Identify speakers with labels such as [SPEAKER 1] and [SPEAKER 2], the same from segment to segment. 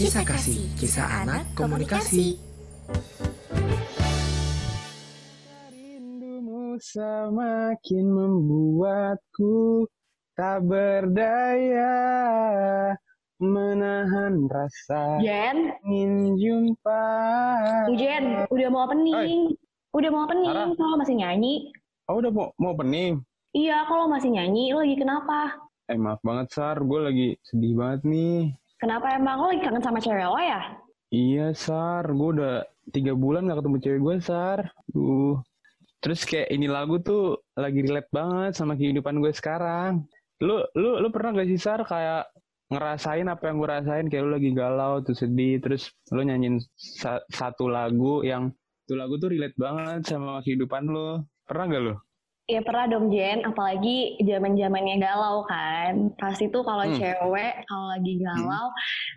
[SPEAKER 1] Kisah Kasih, Kisah Anak Komunikasi.
[SPEAKER 2] Rindumu semakin membuatku tak berdaya menahan
[SPEAKER 3] Ya.
[SPEAKER 2] rasa
[SPEAKER 3] Jen,
[SPEAKER 2] ingin jumpa.
[SPEAKER 3] Jen, udah mau opening. Udah mau opening,
[SPEAKER 2] Sarah.
[SPEAKER 3] kalau masih nyanyi.
[SPEAKER 2] Oh udah mau mau pening.
[SPEAKER 3] Iya, kalau masih nyanyi, lo lagi kenapa?
[SPEAKER 2] Eh maaf banget Sar, gue lagi sedih banget nih.
[SPEAKER 3] Kenapa emang lo lagi kangen sama cewek lo ya?
[SPEAKER 2] Iya Sar, gue udah tiga bulan gak ketemu cewek gue Sar. Duh. Terus kayak ini lagu tuh lagi relate banget sama kehidupan gue sekarang. Lu lu lu pernah gak sih Sar kayak ngerasain apa yang gue rasain kayak lu lagi galau tuh sedih terus lu nyanyiin sa- satu lagu yang tuh lagu tuh relate banget sama kehidupan lu. Pernah gak lu?
[SPEAKER 3] Ya pernah dong Jen, apalagi zaman zamannya galau kan. Pasti tuh kalau
[SPEAKER 2] Hmm.
[SPEAKER 3] cewek kalau lagi galau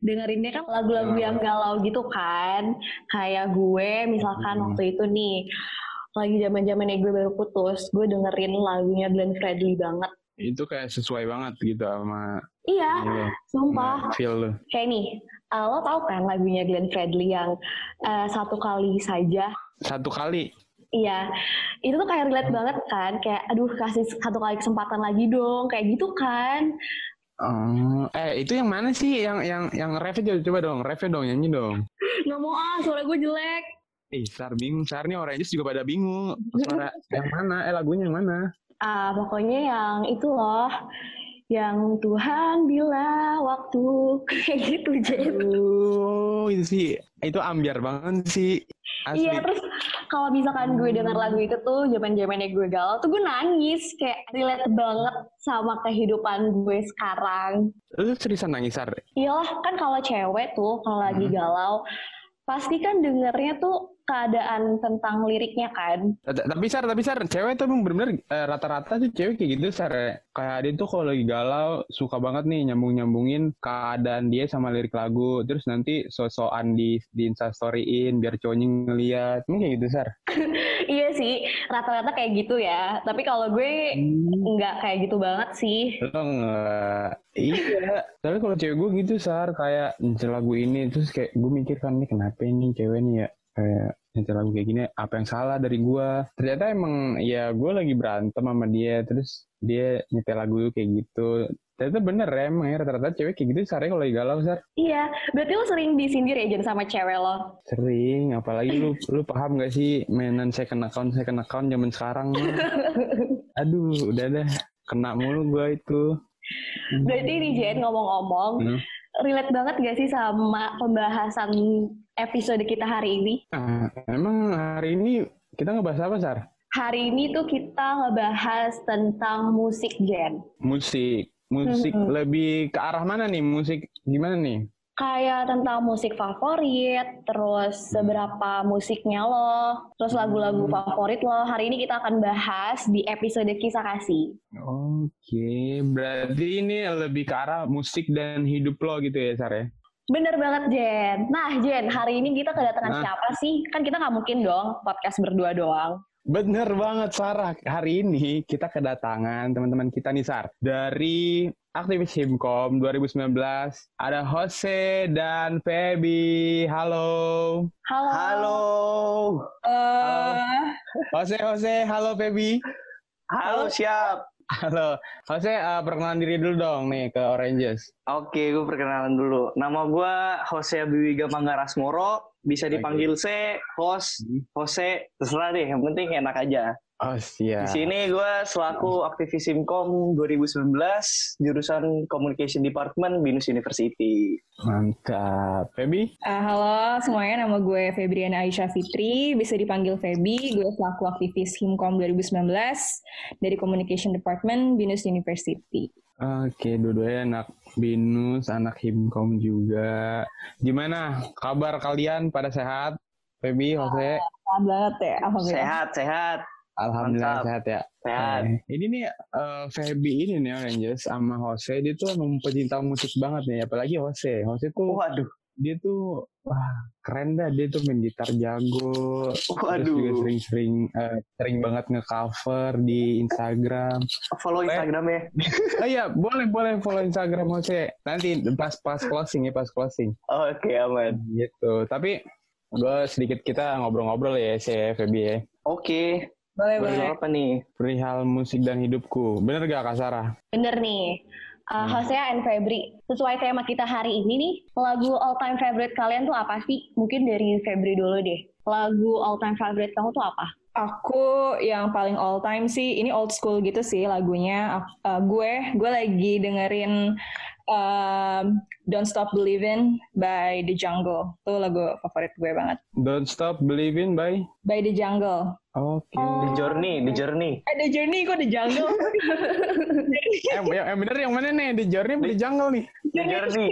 [SPEAKER 3] dengerinnya kan lagu-lagu
[SPEAKER 2] Galau.
[SPEAKER 3] yang galau gitu kan. Kayak gue misalkan
[SPEAKER 2] Hmm.
[SPEAKER 3] waktu itu nih lagi zaman zamannya gue baru putus, gue dengerin lagunya Glenn Fredly banget.
[SPEAKER 2] Itu kayak sesuai banget gitu sama
[SPEAKER 3] Iya,
[SPEAKER 2] ini lu, sama
[SPEAKER 3] sumpah.
[SPEAKER 2] feel lu.
[SPEAKER 3] Kayak nih, uh, lo tau kan lagunya Glenn Fredly yang uh, satu kali saja.
[SPEAKER 2] Satu kali.
[SPEAKER 3] Iya, itu tuh kayak relate banget kan. Kayak, aduh kasih satu kali kesempatan lagi dong. Kayak gitu kan.
[SPEAKER 2] Oh, eh itu yang mana sih yang yang yang ref aja coba dong, ref dong nyanyi dong.
[SPEAKER 3] Nggak mau ah, suara gue jelek.
[SPEAKER 2] Ih, Sar bingung, Sar nih orang juga pada bingung. Suara yang mana? Eh lagunya yang mana?
[SPEAKER 3] Ah, pokoknya yang itu loh. Yang Tuhan bila waktu. Kayak gitu, Jen.
[SPEAKER 2] Aduh, itu sih itu ambiar banget sih. Asli.
[SPEAKER 3] Iya, terus kalau misalkan gue denger lagu itu tuh zaman zamannya gue galau tuh gue nangis kayak relate banget sama kehidupan gue sekarang.
[SPEAKER 2] Lu seriusan nangis, Sar?
[SPEAKER 3] Iyalah kan kalau cewek tuh kalau lagi
[SPEAKER 2] Hmm.
[SPEAKER 3] galau pasti kan dengernya tuh keadaan tentang liriknya kan.
[SPEAKER 2] T- Tapi Sar, tapi Sar, cewek tuh emang bener-bener eh, rata-rata tuh cewek kayak gitu, Sar. ya. Kayak dia tuh kalau lagi galau suka banget nih nyambung-nyambungin keadaan dia sama lirik lagu. Terus nanti sosokan di di instastoryin biar cowoknya ngeliat. Ini kayak gitu, Sar.
[SPEAKER 3] iya sih, rata-rata kayak gitu ya. Tapi kalau gue nggak kayak gitu banget sih.
[SPEAKER 2] Lo nggak iya tapi kalau cewek gue gitu sar kayak nyetel lagu ini terus kayak gue mikir kan ini kenapa ini cewek nih ya kayak nyetel lagu kayak gini apa yang salah dari gue ternyata emang ya gue lagi berantem sama dia terus dia nyetel lagu kayak gitu ternyata bener ya emang ya rata-rata cewek kayak gitu sarnya kalau lagi galau sar
[SPEAKER 3] Iya, berarti lo sering disindir ya Jen sama cewek
[SPEAKER 2] Mm-hmm.
[SPEAKER 3] lo.
[SPEAKER 2] sering apalagi lu lu paham gak sih mainan second account second account zaman sekarang mah. aduh udah dah kena mulu gue itu
[SPEAKER 3] Berarti nih Jen ngomong-ngomong,
[SPEAKER 2] Hmm.
[SPEAKER 3] relate banget gak sih sama pembahasan episode kita hari ini?
[SPEAKER 2] Ah, emang hari ini kita ngebahas apa, Sar?
[SPEAKER 3] Hari ini tuh kita ngebahas tentang musik Jen.
[SPEAKER 2] Musik. Musik
[SPEAKER 3] Mhm.
[SPEAKER 2] lebih ke arah mana nih? Musik gimana nih?
[SPEAKER 3] kayak tentang musik favorit, terus seberapa musiknya lo, terus lagu-lagu
[SPEAKER 2] Hmm.
[SPEAKER 3] favorit lo. Hari ini kita akan bahas di episode kisah kasih.
[SPEAKER 2] Oke, berarti ini lebih ke arah musik dan hidup lo gitu ya, Sar ya?
[SPEAKER 3] Bener banget Jen. Nah Jen, hari ini kita
[SPEAKER 2] Nah.
[SPEAKER 3] kedatangan siapa sih? Kan kita nggak mungkin dong podcast berdua doang.
[SPEAKER 2] Bener banget, Sarah. Hari ini kita kedatangan teman-teman kita nih, Sar. Dari aktivis Himkom 2019, ada Jose dan Feby. Halo.
[SPEAKER 3] Halo.
[SPEAKER 4] Halo.
[SPEAKER 3] Eh.
[SPEAKER 2] Jose, Jose. Halo, Feby.
[SPEAKER 4] Halo, siap.
[SPEAKER 2] Halo, Jose, eh, perkenalan diri dulu dong nih ke Oranges.
[SPEAKER 4] Oke, gue perkenalan dulu. Nama gue Jose Abiwiga Manggarasmoro. Bisa dipanggil C, Hos, Jose, terserah deh. Yang penting enak aja.
[SPEAKER 2] Oh, siap.
[SPEAKER 4] Di sini gue selaku aktivis Simkom 2019, jurusan Communication Department Binus University.
[SPEAKER 2] Mantap.
[SPEAKER 5] Eh,
[SPEAKER 2] Feby?
[SPEAKER 5] halo semuanya, nama gue Febriana Aisyah Fitri, bisa dipanggil Feby. Gue selaku aktivis Himkom 2019 dari Communication Department Binus University.
[SPEAKER 2] Oke, dua-duanya anak Binus, anak Himkom juga. Gimana kabar kalian pada sehat? Feby, Jose?
[SPEAKER 5] Sehat banget ya, alhamdulillah.
[SPEAKER 4] Sehat, sehat,
[SPEAKER 2] Alhamdulillah
[SPEAKER 4] Mantap.
[SPEAKER 2] sehat ya.
[SPEAKER 4] sehat.
[SPEAKER 2] Eh, Ini nih eh, Feby ini nih Oranges sama Jose dia tuh emang pecinta musik banget nih, apalagi Jose. Jose tuh
[SPEAKER 4] Waduh,
[SPEAKER 2] dia tuh wah keren dah dia tuh main gitar jago terus juga
[SPEAKER 4] Waduh,
[SPEAKER 2] sering-sering eh, sering banget ngecover di Instagram
[SPEAKER 4] follow ya? Instagramnya.
[SPEAKER 2] oh iya boleh boleh follow Instagram Jose nanti pas pas closing ya pas closing
[SPEAKER 4] Oke, aman.
[SPEAKER 2] gitu tapi gue sedikit kita ngobrol-ngobrol ya si Febi ya
[SPEAKER 4] Oke,
[SPEAKER 3] Boleh, boleh.
[SPEAKER 4] baru apa nih?
[SPEAKER 2] perihal musik dan hidupku bener gak Kak Sarah
[SPEAKER 1] Bener nih. Uh, Hosea and Febri, sesuai tema kita hari ini nih, lagu all time favorite kalian tuh apa sih? Mungkin dari Febri dulu deh. Lagu all time favorite kamu tuh apa?
[SPEAKER 3] Aku yang paling all time sih, ini old school gitu sih lagunya. Ak- uh, gue, gue lagi dengerin um, Don't Stop Believin' by The Jungle. Itu lagu favorit gue banget.
[SPEAKER 2] Don't Stop Believing by
[SPEAKER 3] By The Jungle.
[SPEAKER 2] Oke
[SPEAKER 1] Oh.
[SPEAKER 4] The Journey, The Journey.
[SPEAKER 3] Eh, The Journey kok The Jungle?
[SPEAKER 2] eh, yang, yang bener yang mana nih The Journey apa The Jungle nih
[SPEAKER 4] The Journey.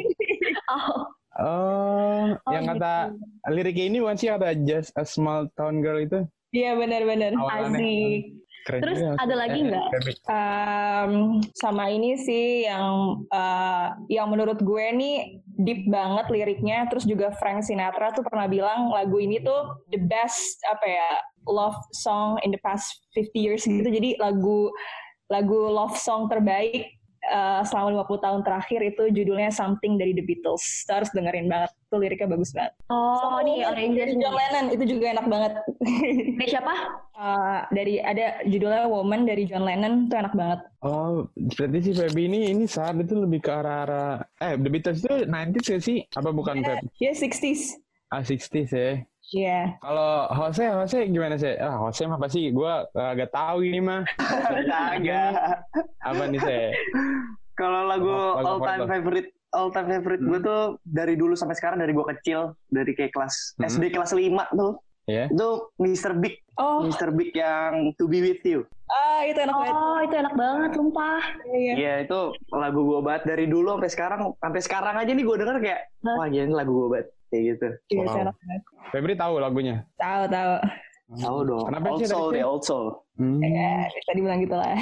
[SPEAKER 1] Oh,
[SPEAKER 2] Oh,
[SPEAKER 1] Oh,
[SPEAKER 2] yang kata liriknya ini bukan sih yang kata just a small town girl itu
[SPEAKER 3] Iya benar-benar.
[SPEAKER 2] Awalannya.
[SPEAKER 1] asik.
[SPEAKER 2] keren
[SPEAKER 1] Terus
[SPEAKER 2] juga.
[SPEAKER 1] ada lagi
[SPEAKER 2] Eh,
[SPEAKER 1] nggak?
[SPEAKER 2] Febi.
[SPEAKER 3] Um, sama ini sih yang uh, yang menurut gue nih deep banget liriknya. Terus juga Frank Sinatra tuh pernah bilang lagu ini tuh the best apa ya love song in the past 50 years gitu. Jadi lagu lagu love song terbaik uh, selama 50 tahun terakhir itu judulnya Something dari The Beatles. Kita harus dengerin banget. Tuh liriknya bagus banget.
[SPEAKER 1] Oh,
[SPEAKER 3] Sama
[SPEAKER 1] nih
[SPEAKER 3] Lennon,
[SPEAKER 1] Oranges
[SPEAKER 3] dari
[SPEAKER 1] nih.
[SPEAKER 3] John Lennon itu juga enak banget.
[SPEAKER 1] Dari siapa?
[SPEAKER 3] Uh, dari ada judulnya Woman dari John Lennon tuh enak banget.
[SPEAKER 2] Oh, berarti si Feby ini ini saat itu lebih ke arah arah eh The Beatles itu 90s gak sih? Apa bukan
[SPEAKER 1] Iya.
[SPEAKER 2] Feb?
[SPEAKER 3] Ya 60s.
[SPEAKER 2] Ah 60s ya.
[SPEAKER 3] Iya.
[SPEAKER 2] Kalau Jose, Jose gimana sih? Ah Jose mah pasti gue agak tahu ini mah.
[SPEAKER 4] Kagak.
[SPEAKER 2] Apa nih saya?
[SPEAKER 4] Kalau lagu
[SPEAKER 2] Lagu Hmm.
[SPEAKER 4] all time
[SPEAKER 2] favorit lo.
[SPEAKER 4] favorite all time favorite gue tuh dari dulu sampai sekarang dari gue kecil dari kayak kelas
[SPEAKER 2] Hmm.
[SPEAKER 4] SD kelas 5 tuh
[SPEAKER 2] Ya.
[SPEAKER 4] itu Mr. Big
[SPEAKER 3] Oh,
[SPEAKER 4] Mr. Big yang To Be With You
[SPEAKER 3] ah, itu enak banget.
[SPEAKER 1] Oh, itu enak banget, lumpah.
[SPEAKER 3] Iya.
[SPEAKER 4] Iya itu lagu gue banget dari dulu sampai sekarang sampai sekarang aja nih gue denger kayak
[SPEAKER 1] Hah?
[SPEAKER 4] wah gila ini lagu gue banget kayak gitu
[SPEAKER 3] Iya,
[SPEAKER 2] Wow.
[SPEAKER 3] itu enak banget.
[SPEAKER 2] Febri tahu lagunya.
[SPEAKER 3] Tahu, tahu.
[SPEAKER 4] tahu dong
[SPEAKER 2] Hmm. Kenapa
[SPEAKER 4] Old
[SPEAKER 2] sih dari
[SPEAKER 4] Soul
[SPEAKER 2] kecil?
[SPEAKER 4] deh Old Soul
[SPEAKER 2] Hmm.
[SPEAKER 1] Iya.
[SPEAKER 3] Ya, tadi bilang gitu lah.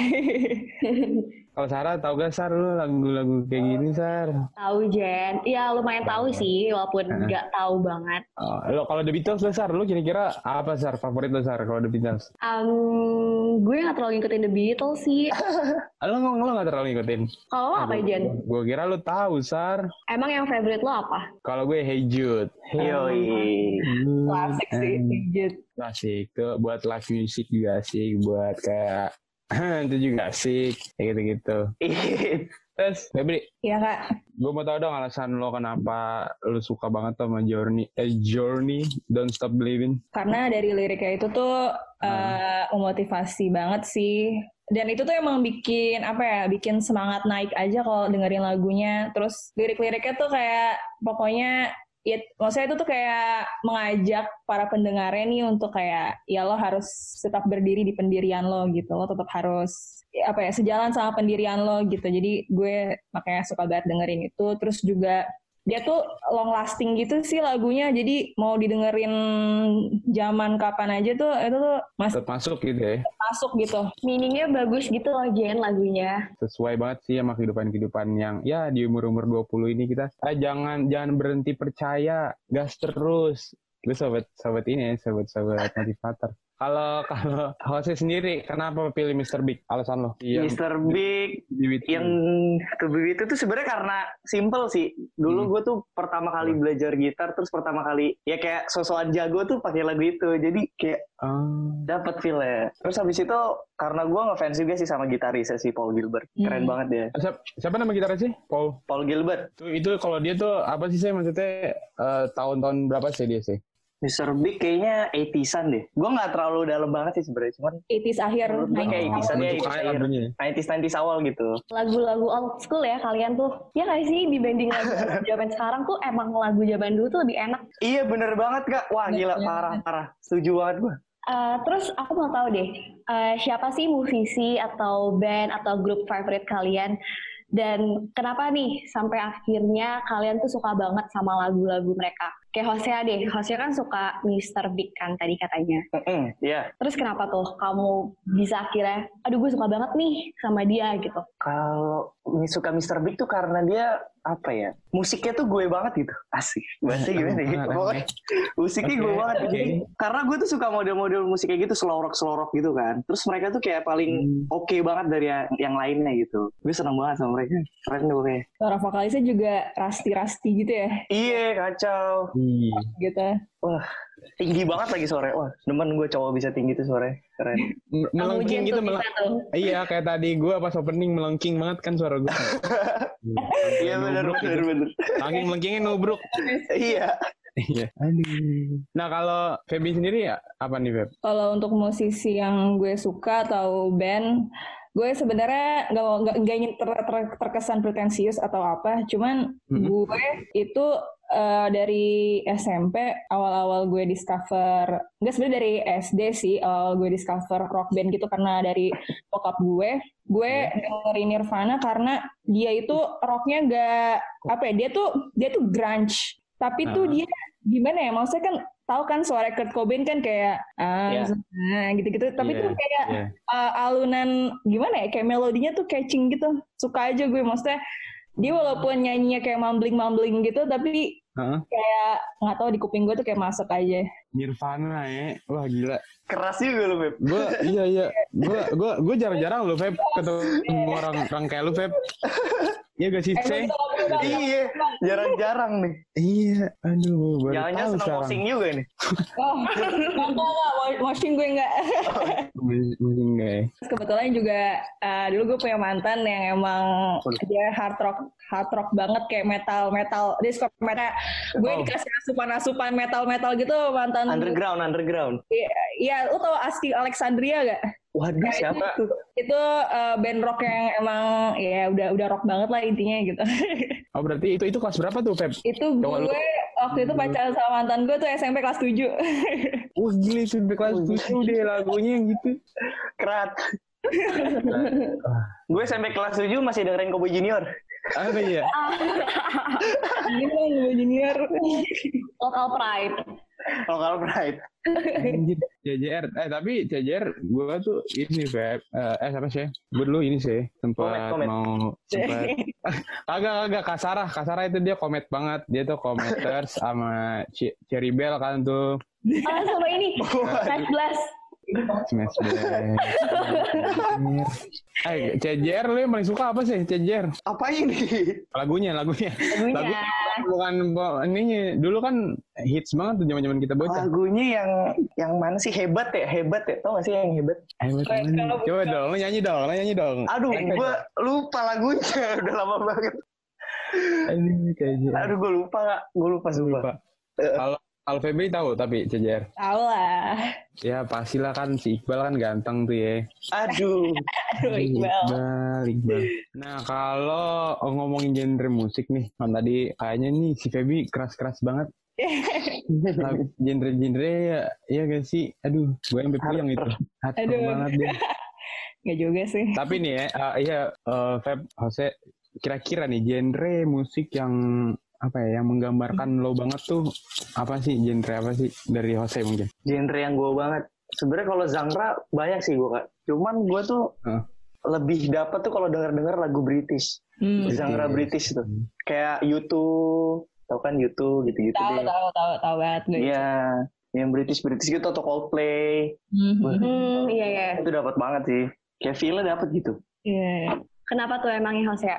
[SPEAKER 2] Kalau Sarah tahu gak Sar lu
[SPEAKER 1] Oh.
[SPEAKER 2] lagu-lagu kayak gini Sar?
[SPEAKER 1] Tahu Jen. Ya lumayan tahu sih, walaupun nggak tahu banget.
[SPEAKER 2] Oh, lo kalau The Beatles lo Sar, lo kira-kira apa Sar favorit lo Sar kalau The Beatles?
[SPEAKER 1] Um, gue nggak terlalu ngikutin The Beatles sih.
[SPEAKER 2] Lo lo, lo gak terlalu ngikutin.
[SPEAKER 1] Kalau lo apa Jen?
[SPEAKER 2] Gue kira lo tahu Sar.
[SPEAKER 1] Emang yang favorite lo apa?
[SPEAKER 2] Kalau gue Hey Jude. Hey
[SPEAKER 4] yoi
[SPEAKER 2] Jude
[SPEAKER 3] Klasik sih.
[SPEAKER 2] and-
[SPEAKER 3] Jut.
[SPEAKER 2] Klasik tuh buat live music juga asik, buat kayak itu juga asik, kayak gitu-gitu. Terus, Febri,
[SPEAKER 3] Iya, Kak.
[SPEAKER 2] gue mau tahu dong alasan lo kenapa lo suka banget sama Journey, eh, Journey, Don't Stop Believing.
[SPEAKER 3] Karena dari liriknya itu tuh
[SPEAKER 2] Hmm.
[SPEAKER 3] eh, memotivasi banget sih. Dan itu tuh emang bikin apa ya, bikin semangat naik aja kalau dengerin lagunya. Terus lirik-liriknya tuh kayak pokoknya ya maksudnya itu tuh kayak mengajak para pendengarnya nih untuk kayak ya lo harus tetap berdiri di pendirian lo gitu lo tetap harus ya, apa ya sejalan sama pendirian lo gitu jadi gue makanya suka banget dengerin itu terus juga dia tuh long lasting gitu sih lagunya jadi mau didengerin zaman kapan aja tuh itu tuh masih
[SPEAKER 2] Tetap masuk gitu ya,
[SPEAKER 3] masuk gitu
[SPEAKER 1] Meaningnya bagus gitu loh Jen lagunya.
[SPEAKER 2] sesuai banget sih sama kehidupan-kehidupan yang ya di umur-umur 20 ini kita ah, jangan jangan berhenti percaya, gas terus. Lu sobat sobat ini ya, sobat-sobat motivator. Kalau kalau Jose sendiri kenapa pilih Mr. Big? Alasan lo? Iya.
[SPEAKER 4] Mr. Big yang ke BB itu tuh sebenarnya karena simple sih. Dulu
[SPEAKER 2] Hmm.
[SPEAKER 4] gue tuh pertama kali belajar gitar terus pertama kali ya kayak sosokan jago tuh pakai lagu itu. Jadi kayak
[SPEAKER 2] Ah.
[SPEAKER 4] dapat feel ya. Terus habis itu karena gue ngefans juga sih sama gitarisnya si Paul Gilbert. Keren
[SPEAKER 3] Hmm.
[SPEAKER 4] banget ya.
[SPEAKER 2] Siapa, siapa nama gitaris sih? Paul.
[SPEAKER 4] Paul Gilbert,
[SPEAKER 2] Itu, itu kalau dia tuh apa sih saya maksudnya eh, tahun-tahun berapa sih dia sih?
[SPEAKER 4] Mr. Big kayaknya 80-an deh. Gue nggak terlalu dalam banget sih sebenarnya, cuman
[SPEAKER 3] 80s akhir
[SPEAKER 4] Menurut gue kayak
[SPEAKER 3] 90s.
[SPEAKER 4] bisa deh,
[SPEAKER 2] Bentuk
[SPEAKER 4] itu
[SPEAKER 2] kayak
[SPEAKER 4] cair.
[SPEAKER 2] lagunya ya.
[SPEAKER 4] 90s 90s awal gitu.
[SPEAKER 1] Lagu-lagu old school ya kalian tuh. Ya nggak sih dibanding lagu zaman sekarang tuh emang lagu zaman dulu tuh lebih enak.
[SPEAKER 4] Iya bener banget kak. Wah gila parah parah. Setuju banget gue.
[SPEAKER 1] Eh, terus aku mau tahu deh, eh, siapa sih musisi atau band atau grup favorite kalian? Dan kenapa nih sampai akhirnya kalian tuh suka banget sama lagu-lagu mereka? Kayak Hosea deh, Hosea kan suka Mr. Big kan tadi katanya.
[SPEAKER 4] Mm-mm, Iya.
[SPEAKER 1] Terus kenapa tuh kamu bisa akhirnya, aduh gue suka banget nih sama dia gitu.
[SPEAKER 4] Kalau mi- suka Mr. Big tuh karena dia apa ya? Musiknya tuh gue banget gitu. Asik. Bahasa gimana ya? Pokoknya musiknya gue
[SPEAKER 2] Oke,
[SPEAKER 4] banget.
[SPEAKER 2] oke.
[SPEAKER 4] Jadi, Karena gue tuh suka model-model musik kayak gitu, selorok-selorok gitu kan. Terus mereka tuh kayak
[SPEAKER 2] Hmm.
[SPEAKER 4] paling oke banget dari yang, yang lainnya gitu. Gue seneng banget sama mereka. Keren tuh pokoknya.
[SPEAKER 3] Suara vokalisnya juga rasti-rasti gitu ya,
[SPEAKER 4] Iya kacau.
[SPEAKER 2] Iya.
[SPEAKER 3] gitu.
[SPEAKER 4] Wah, tinggi banget lagi sore. Wah, demen gue cowok bisa tinggi tuh sore. Keren.
[SPEAKER 2] Mel-
[SPEAKER 1] Kamu
[SPEAKER 2] melengking
[SPEAKER 1] Jen
[SPEAKER 2] gitu
[SPEAKER 1] tuh
[SPEAKER 2] meleng-
[SPEAKER 1] bisa tuh.
[SPEAKER 2] iya kayak tadi gue pas opening melengking banget kan suara gue
[SPEAKER 4] Iya bener,
[SPEAKER 2] Nubruk
[SPEAKER 4] bener,
[SPEAKER 2] gitu.
[SPEAKER 4] bener.
[SPEAKER 2] saking melengkingnya nubruk
[SPEAKER 4] Iya.
[SPEAKER 2] iya nah kalau Feby sendiri ya apa nih Feb
[SPEAKER 3] Kalau untuk musisi yang gue suka atau band, gue sebenarnya nggak mau- nggak nggak ingin ter- ter- terkesan pretensius atau apa. Cuman
[SPEAKER 2] Mhm.
[SPEAKER 3] gue itu eh, dari SMP awal-awal gue discover, nggak sebenarnya dari SD sih awal gue discover rock band gitu karena dari bokap gue. Gue dengerin Nirvana karena dia itu rocknya nggak apa ya? Dia tuh dia tuh grunge, tapi tuh
[SPEAKER 2] Ah.
[SPEAKER 3] dia gimana ya? Maksudnya kan tahu kan suara Kurt Cobain kan kayak ah,
[SPEAKER 4] Iya.
[SPEAKER 3] nah, gitu-gitu tapi
[SPEAKER 2] Iya,
[SPEAKER 3] tuh kayak
[SPEAKER 2] iya.
[SPEAKER 3] uh, alunan gimana ya kayak melodinya tuh catching gitu suka aja gue maksudnya dia
[SPEAKER 2] Hmm.
[SPEAKER 3] walaupun nyanyinya kayak mumbling mumbling gitu tapi
[SPEAKER 2] Heeh.
[SPEAKER 3] kayak nggak tahu di kuping gue tuh kayak masuk aja
[SPEAKER 2] Nirvana ya wah gila
[SPEAKER 4] Keras juga lu, Beb.
[SPEAKER 2] gue iya iya gue gue gue jarang-jarang lu Feb ketemu orang orang kayak lu Feb iya gak sih
[SPEAKER 3] Emang
[SPEAKER 2] Ceng
[SPEAKER 3] kita ngobrol banget.
[SPEAKER 4] Iya, jarang-jarang nih.
[SPEAKER 2] iya aduh baru
[SPEAKER 4] Jangan-jangan
[SPEAKER 2] tahu
[SPEAKER 4] senang
[SPEAKER 2] sekarang
[SPEAKER 4] posing juga nih.
[SPEAKER 3] oh nggak nggak, nggak washing gue nggak
[SPEAKER 2] Mungkin nggak ya
[SPEAKER 3] Terus kebetulan juga uh, dulu gue punya mantan yang emang dia hard rock hard rock banget kayak metal metal dia suka metal gue
[SPEAKER 2] Oh.
[SPEAKER 3] dikasih asupan asupan metal metal gitu mantan
[SPEAKER 4] Underground, underground.
[SPEAKER 3] Iya, iya, lu tau Asking Alexandria gak?
[SPEAKER 4] Waduh, siapa tuh?
[SPEAKER 3] Itu eh, band rock yang emang ya udah udah rock banget lah intinya gitu.
[SPEAKER 2] oh berarti itu itu kelas berapa tuh Feb
[SPEAKER 3] itu
[SPEAKER 2] Cowok lu.
[SPEAKER 3] gue waktu itu pacaran sama mantan gue tuh SMP kelas 7.
[SPEAKER 2] Wah gila itu di kelas tujuh deh lagunya gitu.
[SPEAKER 4] Kerat. Gue sampai kelas 7 masih dengerin Kobo Junior.
[SPEAKER 2] Apa ya?
[SPEAKER 3] Gila gue junior.
[SPEAKER 1] Local pride.
[SPEAKER 4] Local Pride.
[SPEAKER 2] Anjir. CJR. Eh tapi CJR gue tuh ini Feb. Eh, eh siapa sih? Gue dulu ini sih. Tempat
[SPEAKER 4] Komet, komet.
[SPEAKER 2] mau sempat. Agak agak kasarah. Kasarah itu dia komet banget. Dia tuh kometers sama Ci- Cherry Bell kan tuh.
[SPEAKER 1] Ah, sama ini, Smash Blast.
[SPEAKER 2] Smash Bell. eh CJR lu yang paling suka apa sih CJR?
[SPEAKER 4] Apa ini?
[SPEAKER 2] Lagunya, lagunya.
[SPEAKER 1] Lagunya.
[SPEAKER 2] Bukan, bukan ini dulu kan hits banget tuh zaman-zaman kita bocah.
[SPEAKER 4] Lagunya yang yang mana sih hebat ya? Hebat ya? Tau gak sih yang hebat?
[SPEAKER 2] Ayo, temen. Coba dong, lo nyanyi dong, lo nyanyi dong.
[SPEAKER 4] Aduh,
[SPEAKER 2] Efek
[SPEAKER 4] gue lupa lagunya. Udah lama banget.
[SPEAKER 2] dong. Aduh, CJR.
[SPEAKER 4] Aduh, gue lupa kak. Gue lupa sumpah. Eh,
[SPEAKER 2] Lupa. Kalau kalau Febri tahu tapi CJR.
[SPEAKER 3] Tau lah.
[SPEAKER 2] Ya pastilah kan si Iqbal kan ganteng tuh ya.
[SPEAKER 4] Aduh.
[SPEAKER 3] Aduh, Oh,
[SPEAKER 2] Iya.
[SPEAKER 3] Iqbal.
[SPEAKER 2] Iqbal, Iqbal. Nah kalau ngomongin genre musik nih, kan tadi kayaknya nih si Febri keras-keras banget. Lagu- Genre-genre ya, ya gak sih? Aduh, gue sampai puyeng itu. Hardcore
[SPEAKER 3] Aduh.
[SPEAKER 2] banget deh.
[SPEAKER 3] Gak juga sih.
[SPEAKER 2] Tapi nih ya, eh, iya eh, Feb, Jose, kira-kira nih genre musik yang apa ya yang menggambarkan lo banget tuh apa sih genre apa sih dari Jose mungkin?
[SPEAKER 4] genre yang gue banget. Sebenarnya kalau genre banyak sih gue kak. Cuman gue tuh
[SPEAKER 2] Heeh.
[SPEAKER 4] lebih dapat tuh kalau denger-denger lagu British.
[SPEAKER 3] Hmm.
[SPEAKER 4] Genre British tuh. Kayak YouTube, tau kan YouTube gitu-gitu
[SPEAKER 3] Tahu
[SPEAKER 4] deh.
[SPEAKER 3] tahu tahu tahu banget gue.
[SPEAKER 4] Iya, yang British British gitu atau Coldplay
[SPEAKER 3] Mhm.
[SPEAKER 1] Hmm, iya, iya.
[SPEAKER 4] itu dapat banget sih. Kayak feelnya dapat gitu.
[SPEAKER 3] Iya.
[SPEAKER 1] Kenapa tuh emangnya Hosea?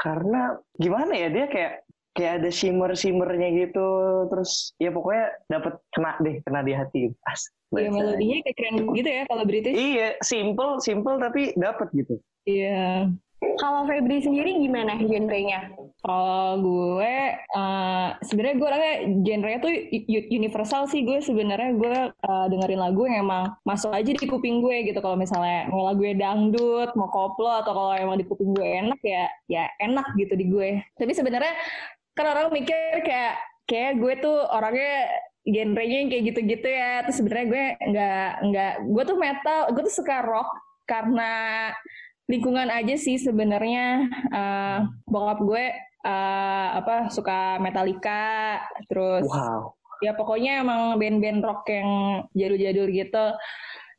[SPEAKER 4] Karena gimana ya dia kayak kayak ada shimmer shimmernya gitu. Terus ya pokoknya dapat kena deh, kena di hati. gitu. As,
[SPEAKER 3] Iya,
[SPEAKER 4] bahasa.
[SPEAKER 3] melodinya kayak keren gitu ya kalau British.
[SPEAKER 4] Iya, simple simple tapi dapat gitu.
[SPEAKER 3] Iya.
[SPEAKER 1] Kalau Febri sendiri gimana genrenya?
[SPEAKER 3] Kalau gue, eh, sebenarnya gue orangnya genre tuh u- u- universal sih gue sebenarnya gue eh, dengerin lagu yang emang masuk aja di kuping gue gitu. Kalau misalnya mau lagu dangdut, mau koplo atau kalau emang di kuping gue enak ya, ya enak gitu di gue. Tapi sebenarnya kan orang mikir kayak kayak gue tuh orangnya genrenya yang kayak gitu-gitu ya. Terus sebenarnya gue nggak nggak gue tuh metal, gue tuh suka rock karena lingkungan aja sih sebenarnya eh bokap gue eh, apa suka Metallica terus
[SPEAKER 4] Wow.
[SPEAKER 3] ya pokoknya emang band-band rock yang jadul-jadul gitu.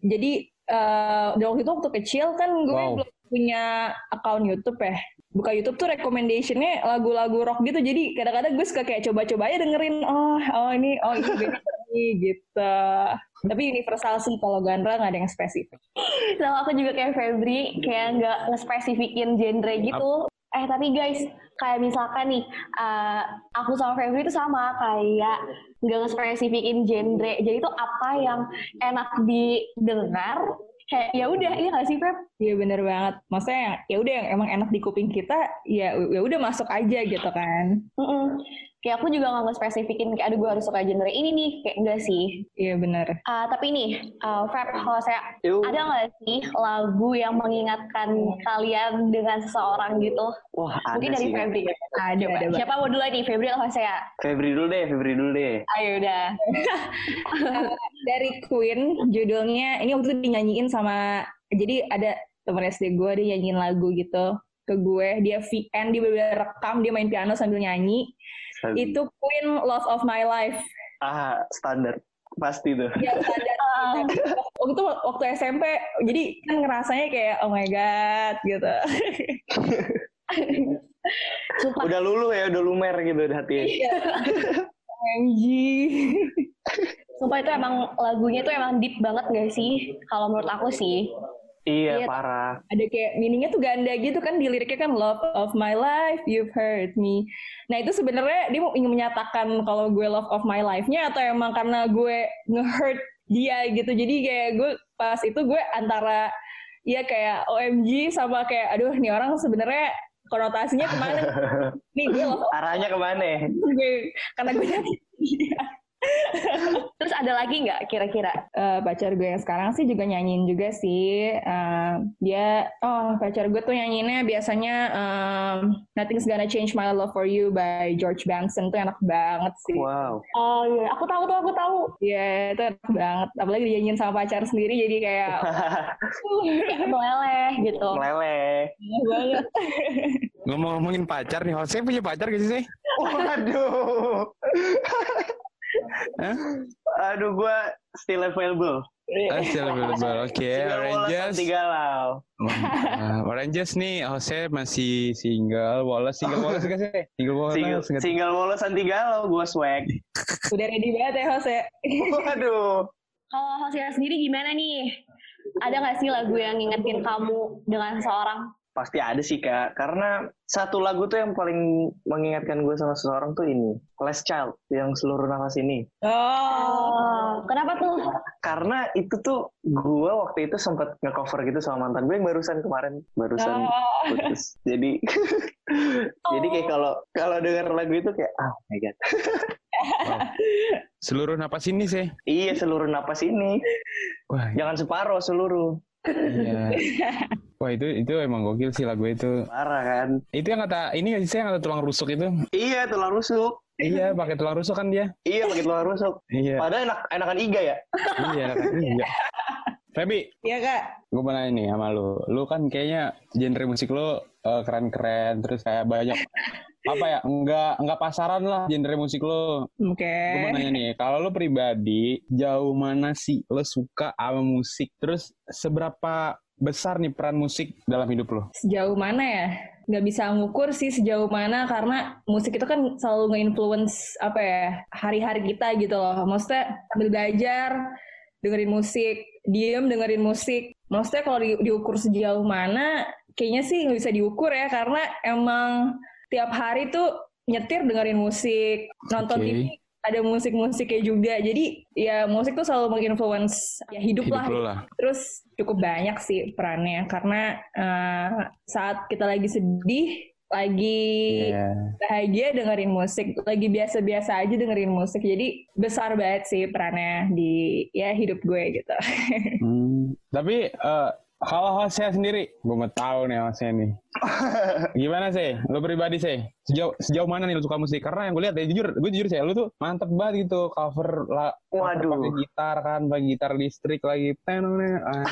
[SPEAKER 3] Jadi eh dan waktu itu waktu kecil kan gue
[SPEAKER 2] Wow.
[SPEAKER 3] belum punya akun YouTube ya. Buka YouTube tuh recommendation-nya lagu-lagu rock gitu. Jadi kadang-kadang gue suka kayak coba-coba aja dengerin. Oh, oh ini, oh ini band ini gitu. Tapi universal sih kalau genre nggak ada yang spesifik.
[SPEAKER 1] Sama aku juga kayak Febri, kayak nggak ngespesifikin genre gitu. Eh tapi guys, kayak misalkan nih, eh, aku sama Febri itu sama kayak nggak ngespesifikin genre. Jadi tuh apa yang enak didengar, kayak ya udah iya nggak sih Feb?
[SPEAKER 3] Iya bener banget. Maksudnya yang ya udah yang emang enak di kuping kita, ya ya udah masuk aja gitu kan.
[SPEAKER 1] Mm-mm. Kayak aku juga nggak ngespesifikin kayak aduh gue harus suka genre ini nih, kayak enggak sih.
[SPEAKER 3] Iya bener.
[SPEAKER 1] Eh, tapi nih, eh, Feb, kalau saya
[SPEAKER 4] Yo.
[SPEAKER 1] ada nggak sih lagu yang mengingatkan kalian dengan seseorang gitu?
[SPEAKER 4] Wah,
[SPEAKER 1] Mungkin
[SPEAKER 4] ada
[SPEAKER 1] dari
[SPEAKER 4] sih.
[SPEAKER 1] Febri.
[SPEAKER 3] Ada,
[SPEAKER 1] Coba.
[SPEAKER 3] ada
[SPEAKER 1] Siapa mau duluan nih? Febri atau saya?
[SPEAKER 4] Febri dulu deh, Febri dulu deh.
[SPEAKER 1] Ayo udah.
[SPEAKER 3] dari Queen judulnya ini waktu itu dinyanyiin sama jadi ada temen SD gue dia nyanyiin lagu gitu ke gue dia VN dia bener rekam dia main piano sambil nyanyi
[SPEAKER 4] Febri.
[SPEAKER 3] itu Queen Love of My Life
[SPEAKER 4] Ah, standar. Pasti tuh.
[SPEAKER 3] yang standar waktu itu waktu SMP jadi kan ngerasanya kayak oh my god gitu
[SPEAKER 1] Sumpah.
[SPEAKER 4] Udah lulu ya, udah lumer gitu di hati.
[SPEAKER 3] OMG
[SPEAKER 1] Sumpah itu emang lagunya tuh emang deep banget gak sih? Kalau menurut aku sih.
[SPEAKER 3] Iya.
[SPEAKER 4] Iya, parah.
[SPEAKER 3] ada kayak meaningnya tuh ganda gitu kan di liriknya kan love of my life you've hurt me nah itu sebenarnya dia mau ingin menyatakan kalau gue love of my life-nya atau emang karena gue nge-hurt dia gitu jadi kayak gue pas itu gue antara ya kayak OMG sama kayak aduh nih orang sebenarnya konotasinya kemana nih gue love of
[SPEAKER 4] Arahnya kemana?
[SPEAKER 3] gue karena gue nyakitin dia.
[SPEAKER 1] Terus ada lagi nggak kira-kira?
[SPEAKER 3] Eh, pacar gue yang sekarang sih juga nyanyiin juga sih. Eh, dia, oh pacar gue tuh nyanyiinnya biasanya em, Nothing's Gonna Change My Love For You by George Benson tuh enak banget sih.
[SPEAKER 4] Wow.
[SPEAKER 1] Oh iya, aku tahu tuh, aku tahu.
[SPEAKER 3] Iya itu enak banget. Apalagi dinyanyiin sama pacar sendiri jadi kayak
[SPEAKER 1] Kayak meleleh gitu.
[SPEAKER 4] Meleleh.
[SPEAKER 3] enak banget.
[SPEAKER 2] Ngomong-ngomongin pacar nih, Jose punya pacar gak sih sih?
[SPEAKER 4] Waduh.
[SPEAKER 2] Hah?
[SPEAKER 4] Aduh, gue still available.
[SPEAKER 2] Ah, still available. Oke,
[SPEAKER 4] Oranges.
[SPEAKER 2] Oranges.
[SPEAKER 4] galau.
[SPEAKER 2] Mantap. Oranges nih, Jose masih single, Wallace single Wallace gak sih? Single Wallace.
[SPEAKER 4] Single,
[SPEAKER 2] nggak tuh?
[SPEAKER 4] single Wallace anti galau, gue swag.
[SPEAKER 3] Udah ready banget ya Jose.
[SPEAKER 4] Waduh.
[SPEAKER 1] Kalau Hosea sendiri gimana nih? Ada nggak sih lagu yang ngingetin kamu dengan seseorang?
[SPEAKER 4] Pasti ada sih, Kak. Karena satu lagu tuh yang paling mengingatkan gue sama seseorang tuh ini. Last Child, yang seluruh nafas ini.
[SPEAKER 3] Oh.
[SPEAKER 1] Oh, kenapa tuh?
[SPEAKER 4] Karena itu tuh gue waktu itu sempat ngecover gitu sama mantan gue yang barusan kemarin. Barusan
[SPEAKER 3] Oh.
[SPEAKER 4] putus. Jadi jadi kayak kalau kalau denger lagu itu kayak ah oh my god.
[SPEAKER 2] Seluruh napas ini sih.
[SPEAKER 4] Iya seluruh napas ini.
[SPEAKER 2] Wah,
[SPEAKER 4] Jangan separuh seluruh.
[SPEAKER 2] iya. Wah, itu itu emang gokil sih lagu itu.
[SPEAKER 4] Parah kan?
[SPEAKER 2] Itu yang kata ini gak sih Shay, yang kata tulang rusuk itu?
[SPEAKER 4] Iya tulang rusuk.
[SPEAKER 2] Iya, pakai tulang rusuk kan dia?
[SPEAKER 4] Iya pakai tulang rusuk.
[SPEAKER 2] Iya.
[SPEAKER 4] Padahal enak enakan iga ya.
[SPEAKER 2] Iya, kan? iya. Feby,
[SPEAKER 3] Iya kak.
[SPEAKER 2] gue mau nanya nih sama lu. Lu kan kayaknya genre musik lu eh, keren-keren, terus kayak banyak apa ya? Enggak enggak pasaran lah genre musik lu.
[SPEAKER 3] Oke.
[SPEAKER 2] Gue mau nanya nih, kalau lu pribadi jauh mana sih lu suka sama musik? Terus seberapa besar nih peran musik dalam hidup lu?
[SPEAKER 3] sejauh mana ya nggak bisa ngukur sih sejauh mana karena musik itu kan selalu nge-influence apa ya hari-hari kita gitu loh maksudnya sambil belajar dengerin musik diem dengerin musik maksudnya kalau di- diukur sejauh mana kayaknya sih nggak bisa diukur ya karena emang tiap hari tuh nyetir dengerin musik nonton
[SPEAKER 2] Oke.
[SPEAKER 3] TV ada musik-musiknya juga jadi ya musik tuh selalu menginfluence ya hidup,
[SPEAKER 2] Hidup
[SPEAKER 3] lah
[SPEAKER 2] lu lah.
[SPEAKER 3] Terus cukup banyak sih perannya karena eh, saat kita lagi sedih, lagi
[SPEAKER 2] Iya.
[SPEAKER 3] bahagia dengerin musik, lagi biasa-biasa aja dengerin musik. Jadi besar banget sih perannya di ya hidup gue gitu.
[SPEAKER 2] Hmm, Tapi eh, kalau Jose sendiri, gue mau tahu nih Jose nih. Gimana sih? Lo pribadi sih? Sejauh sejauh mana nih lo suka musik? Karena yang gue lihat ya jujur, gue jujur sih, lo tuh mantep banget gitu cover la, cover
[SPEAKER 4] Waduh.
[SPEAKER 2] pakai gitar kan, pakai gitar listrik lagi. Tenone. Ah,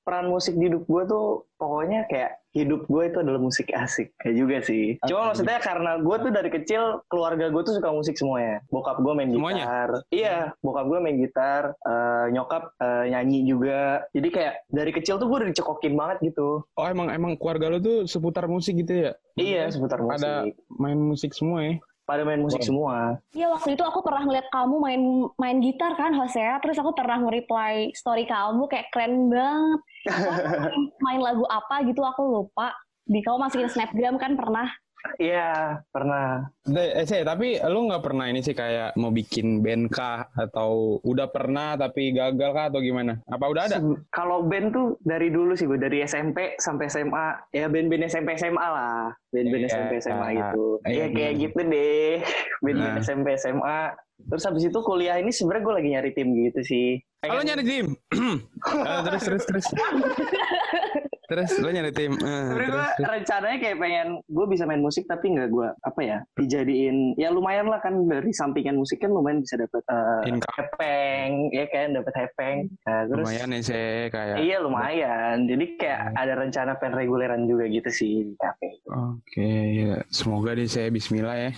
[SPEAKER 4] Peran musik di hidup gue tuh pokoknya kayak hidup gue itu adalah musik asik ya juga sih cuma maksudnya karena gue tuh dari kecil keluarga gue tuh suka musik semuanya bokap gue main
[SPEAKER 2] Semuanya?
[SPEAKER 4] gitar iya bokap gue main gitar eh, nyokap eh, nyanyi juga jadi kayak dari kecil tuh gue udah dicekokin banget gitu
[SPEAKER 2] Oh emang emang keluarga lu tuh seputar musik gitu ya?
[SPEAKER 4] iya seputar musik
[SPEAKER 2] Ada main musik semua ya?
[SPEAKER 4] pada main musik semua
[SPEAKER 1] Iya waktu itu aku pernah ngeliat kamu main main gitar kan Hosea, terus aku pernah nge-reply story kamu kayak keren banget. Main, main lagu apa gitu aku lupa. Di kamu masukin snapgram kan pernah.
[SPEAKER 4] iya pernah
[SPEAKER 2] Da- Eh, saya, tapi lu nggak pernah ini sih kayak mau bikin band kah atau udah pernah tapi gagal kah atau gimana? Apa udah ada?
[SPEAKER 4] Se- kalau band tuh dari dulu sih gue dari SMP sampai SMA ya band-band SMP SMA lah band-band
[SPEAKER 2] Iya.
[SPEAKER 4] SMP SMA gitu
[SPEAKER 2] Iya,
[SPEAKER 4] ya kayak
[SPEAKER 2] bener.
[SPEAKER 4] gitu deh band-band
[SPEAKER 2] Nah.
[SPEAKER 4] SMP SMA terus habis itu kuliah ini sebenarnya gue lagi nyari tim gitu sih
[SPEAKER 2] Kalau nyari tim. Eh, terus terus terus. terus lu nyari tim. Eh,
[SPEAKER 4] Sebenernya
[SPEAKER 2] terus,
[SPEAKER 4] gue
[SPEAKER 2] terus.
[SPEAKER 4] rencananya kayak pengen gue bisa main musik tapi nggak gue apa ya dijadiin ya lumayan lah kan dari sampingan musik kan lumayan bisa dapet eh,
[SPEAKER 2] Income.
[SPEAKER 4] hepeng ya kan dapet hepeng nah, terus
[SPEAKER 2] Lumayan ya Hmm. saya kayak.
[SPEAKER 4] iya lumayan jadi kayak ada rencana pengen reguleran juga gitu sih di kafe
[SPEAKER 2] Oke, ya. semoga deh saya Bismillah ya.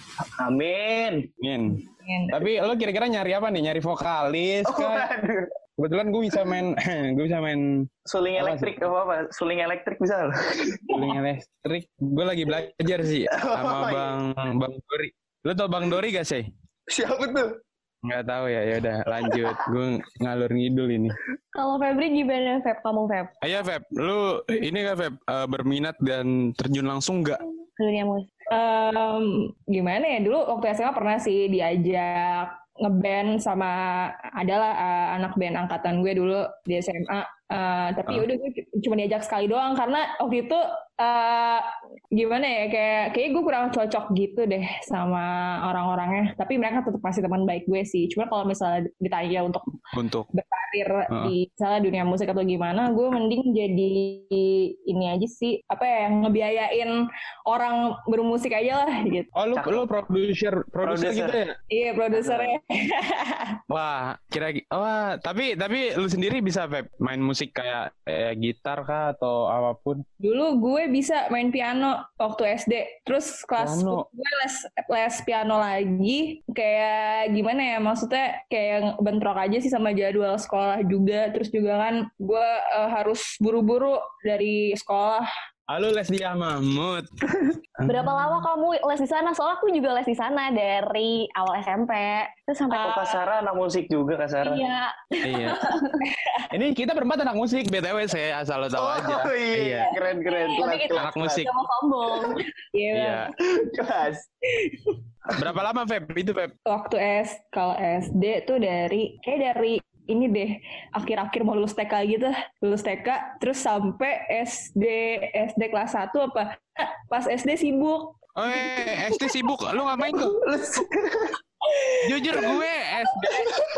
[SPEAKER 4] amin
[SPEAKER 2] Amin.
[SPEAKER 3] Ingin-
[SPEAKER 2] Tapi lo kira-kira nyari apa nih? Nyari vokalis
[SPEAKER 4] oh,
[SPEAKER 2] kah?
[SPEAKER 4] aduh.
[SPEAKER 2] Kebetulan gue bisa main, gue bisa main
[SPEAKER 4] suling
[SPEAKER 2] Apa
[SPEAKER 4] elektrik apa apa suling elektrik bisa loh
[SPEAKER 2] Suling elektrik. Gue lagi belajar sih
[SPEAKER 4] Oh,
[SPEAKER 2] sama
[SPEAKER 4] iya.
[SPEAKER 2] Bang Bang Dori. Lo tau Bang Dori gak sih?
[SPEAKER 4] siapa tuh
[SPEAKER 2] Nggak tahu ya. Ya udah, lanjut. gue ngalur ngidul ini.
[SPEAKER 1] Kalau Febri gimana Feb? Kamu Feb?
[SPEAKER 2] Ayo Feb, lu ini gak Feb Eh, berminat dan terjun langsung nggak?
[SPEAKER 1] Ke Dunia musik.
[SPEAKER 3] Em, gimana ya dulu waktu SMA pernah sih diajak ngeband sama adalah eh, anak band angkatan gue dulu di SMA Eh, tapi
[SPEAKER 2] Ah.
[SPEAKER 3] udah gue cuma diajak sekali doang karena waktu itu eh, gimana ya kayak kayak gue kurang cocok gitu deh sama orang-orangnya tapi mereka tetap masih teman baik gue sih cuma kalau misalnya ditanya untuk
[SPEAKER 2] Untuk
[SPEAKER 3] karir
[SPEAKER 2] Heeh.
[SPEAKER 3] di misalnya dunia musik atau gimana, gue mending jadi ini aja sih apa ya ngebiayain orang bermusik aja lah gitu.
[SPEAKER 2] Oh lu
[SPEAKER 4] Cakep.
[SPEAKER 2] lu produser produser
[SPEAKER 4] Produser.
[SPEAKER 2] gitu ya?
[SPEAKER 3] Iya produsernya.
[SPEAKER 2] Wah, kira wah tapi tapi lu sendiri bisa Feb main musik kayak eh, gitar kah atau apapun?
[SPEAKER 3] Dulu gue bisa main piano waktu SD. Terus kelas
[SPEAKER 2] Piano.
[SPEAKER 3] gue les les piano lagi. Kayak gimana ya maksudnya kayak bentrok aja sih sama jadwal sekolah juga. Terus juga kan gue eh, harus buru-buru dari sekolah.
[SPEAKER 2] Ah, lu les dia Mahmud.
[SPEAKER 1] Berapa lama kamu les di sana? Soalnya aku juga les di sana dari awal SMP terus sampai
[SPEAKER 4] oh kasara anak musik juga kasara
[SPEAKER 1] Iya,
[SPEAKER 2] Iya. Ini kita berempat anak musik BTW saya asal lo tahu
[SPEAKER 4] oh
[SPEAKER 2] aja.
[SPEAKER 4] iya keren keren
[SPEAKER 1] Tapi
[SPEAKER 4] kelas
[SPEAKER 1] kita-
[SPEAKER 4] kelas
[SPEAKER 2] Anak musik.
[SPEAKER 1] gak mau sombong.
[SPEAKER 2] Iya.
[SPEAKER 4] kelas
[SPEAKER 2] Berapa lama Feb itu Feb?
[SPEAKER 3] waktu S kalau SD tuh dari kayak dari ini deh akhir-akhir mau lulus TK gitu lulus TK terus sampai SD SD kelas 1 apa pas SD sibuk
[SPEAKER 2] Oh, eh, SD sibuk. Lu ngapain tuh? Jujur gue SD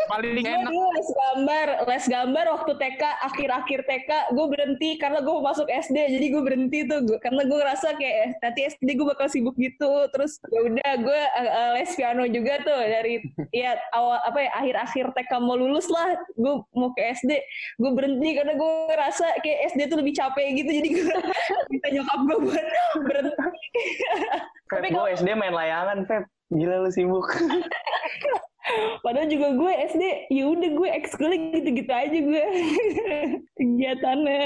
[SPEAKER 2] paling
[SPEAKER 3] gue
[SPEAKER 2] enak.
[SPEAKER 3] Iya, dulu les gambar les gambar waktu TK akhir-akhir TK gue berhenti karena gue mau masuk SD jadi gue berhenti tuh Gue- karena gue ngerasa kayak eh, nanti SD gue bakal sibuk gitu terus ya udah gue eh, eh, les piano juga tuh dari ya awal apa ya akhir-akhir TK mau lulus lah gue mau ke SD gue berhenti karena gue ngerasa kayak SD tuh lebih capek gitu jadi gue minta nyokap gue buat berhenti
[SPEAKER 4] Feb,
[SPEAKER 3] Tapi
[SPEAKER 4] gue SD main layangan, Feb. Gila lu sibuk.
[SPEAKER 3] Padahal juga gue SD, ya udah gue ekskul gitu-gitu aja gue kegiatannya.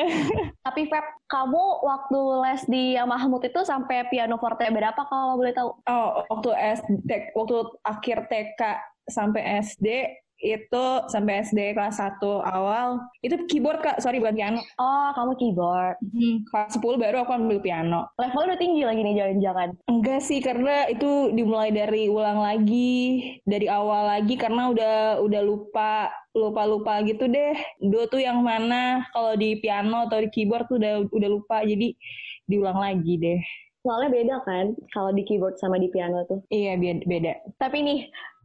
[SPEAKER 1] Tapi Feb, kamu waktu les di Mahmud itu sampai piano forte berapa kalau boleh tahu?
[SPEAKER 3] Oh, waktu SD, waktu akhir TK sampai SD itu sampai SD kelas 1 awal itu keyboard kak, sorry bukan piano.
[SPEAKER 1] Oh, kamu keyboard.
[SPEAKER 3] Kelas 10 baru aku ambil piano.
[SPEAKER 1] Levelnya udah tinggi lagi nih jangan-jangan.
[SPEAKER 3] Enggak sih karena itu dimulai dari ulang lagi dari awal lagi karena udah udah lupa lupa lupa gitu deh do tuh yang mana kalau di piano atau di keyboard tuh udah udah lupa jadi diulang lagi deh
[SPEAKER 1] Soalnya beda kan kalau di keyboard sama di piano tuh.
[SPEAKER 3] iya beda, beda.
[SPEAKER 1] Tapi nih,